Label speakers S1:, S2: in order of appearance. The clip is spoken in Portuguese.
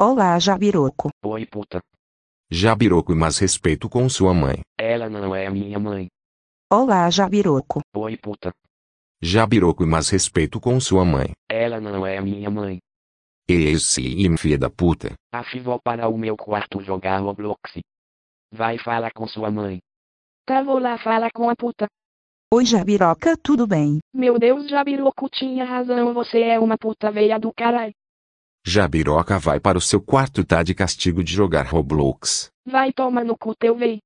S1: Olá, Jabiroco.
S2: Oi, puta.
S3: Jabiroco, mas respeito com sua mãe.
S2: Ela não é minha mãe.
S1: Olá, Jabiroco.
S2: Oi, puta.
S3: Jabiroco, mas respeito com sua mãe.
S2: Ela não é minha mãe.
S3: E esse filha da puta.
S2: Afi, vou para o meu quarto jogar Roblox. Vai falar com sua mãe.
S4: Tá, vou lá falar com a puta.
S1: Oi, Jabiroca, tudo bem?
S4: Meu Deus, Jabiroco tinha razão, você é uma puta veia do caralho.
S3: Jabiroca vai para o seu quarto tá de castigo de jogar Roblox.
S4: Vai tomar no cu teu véi.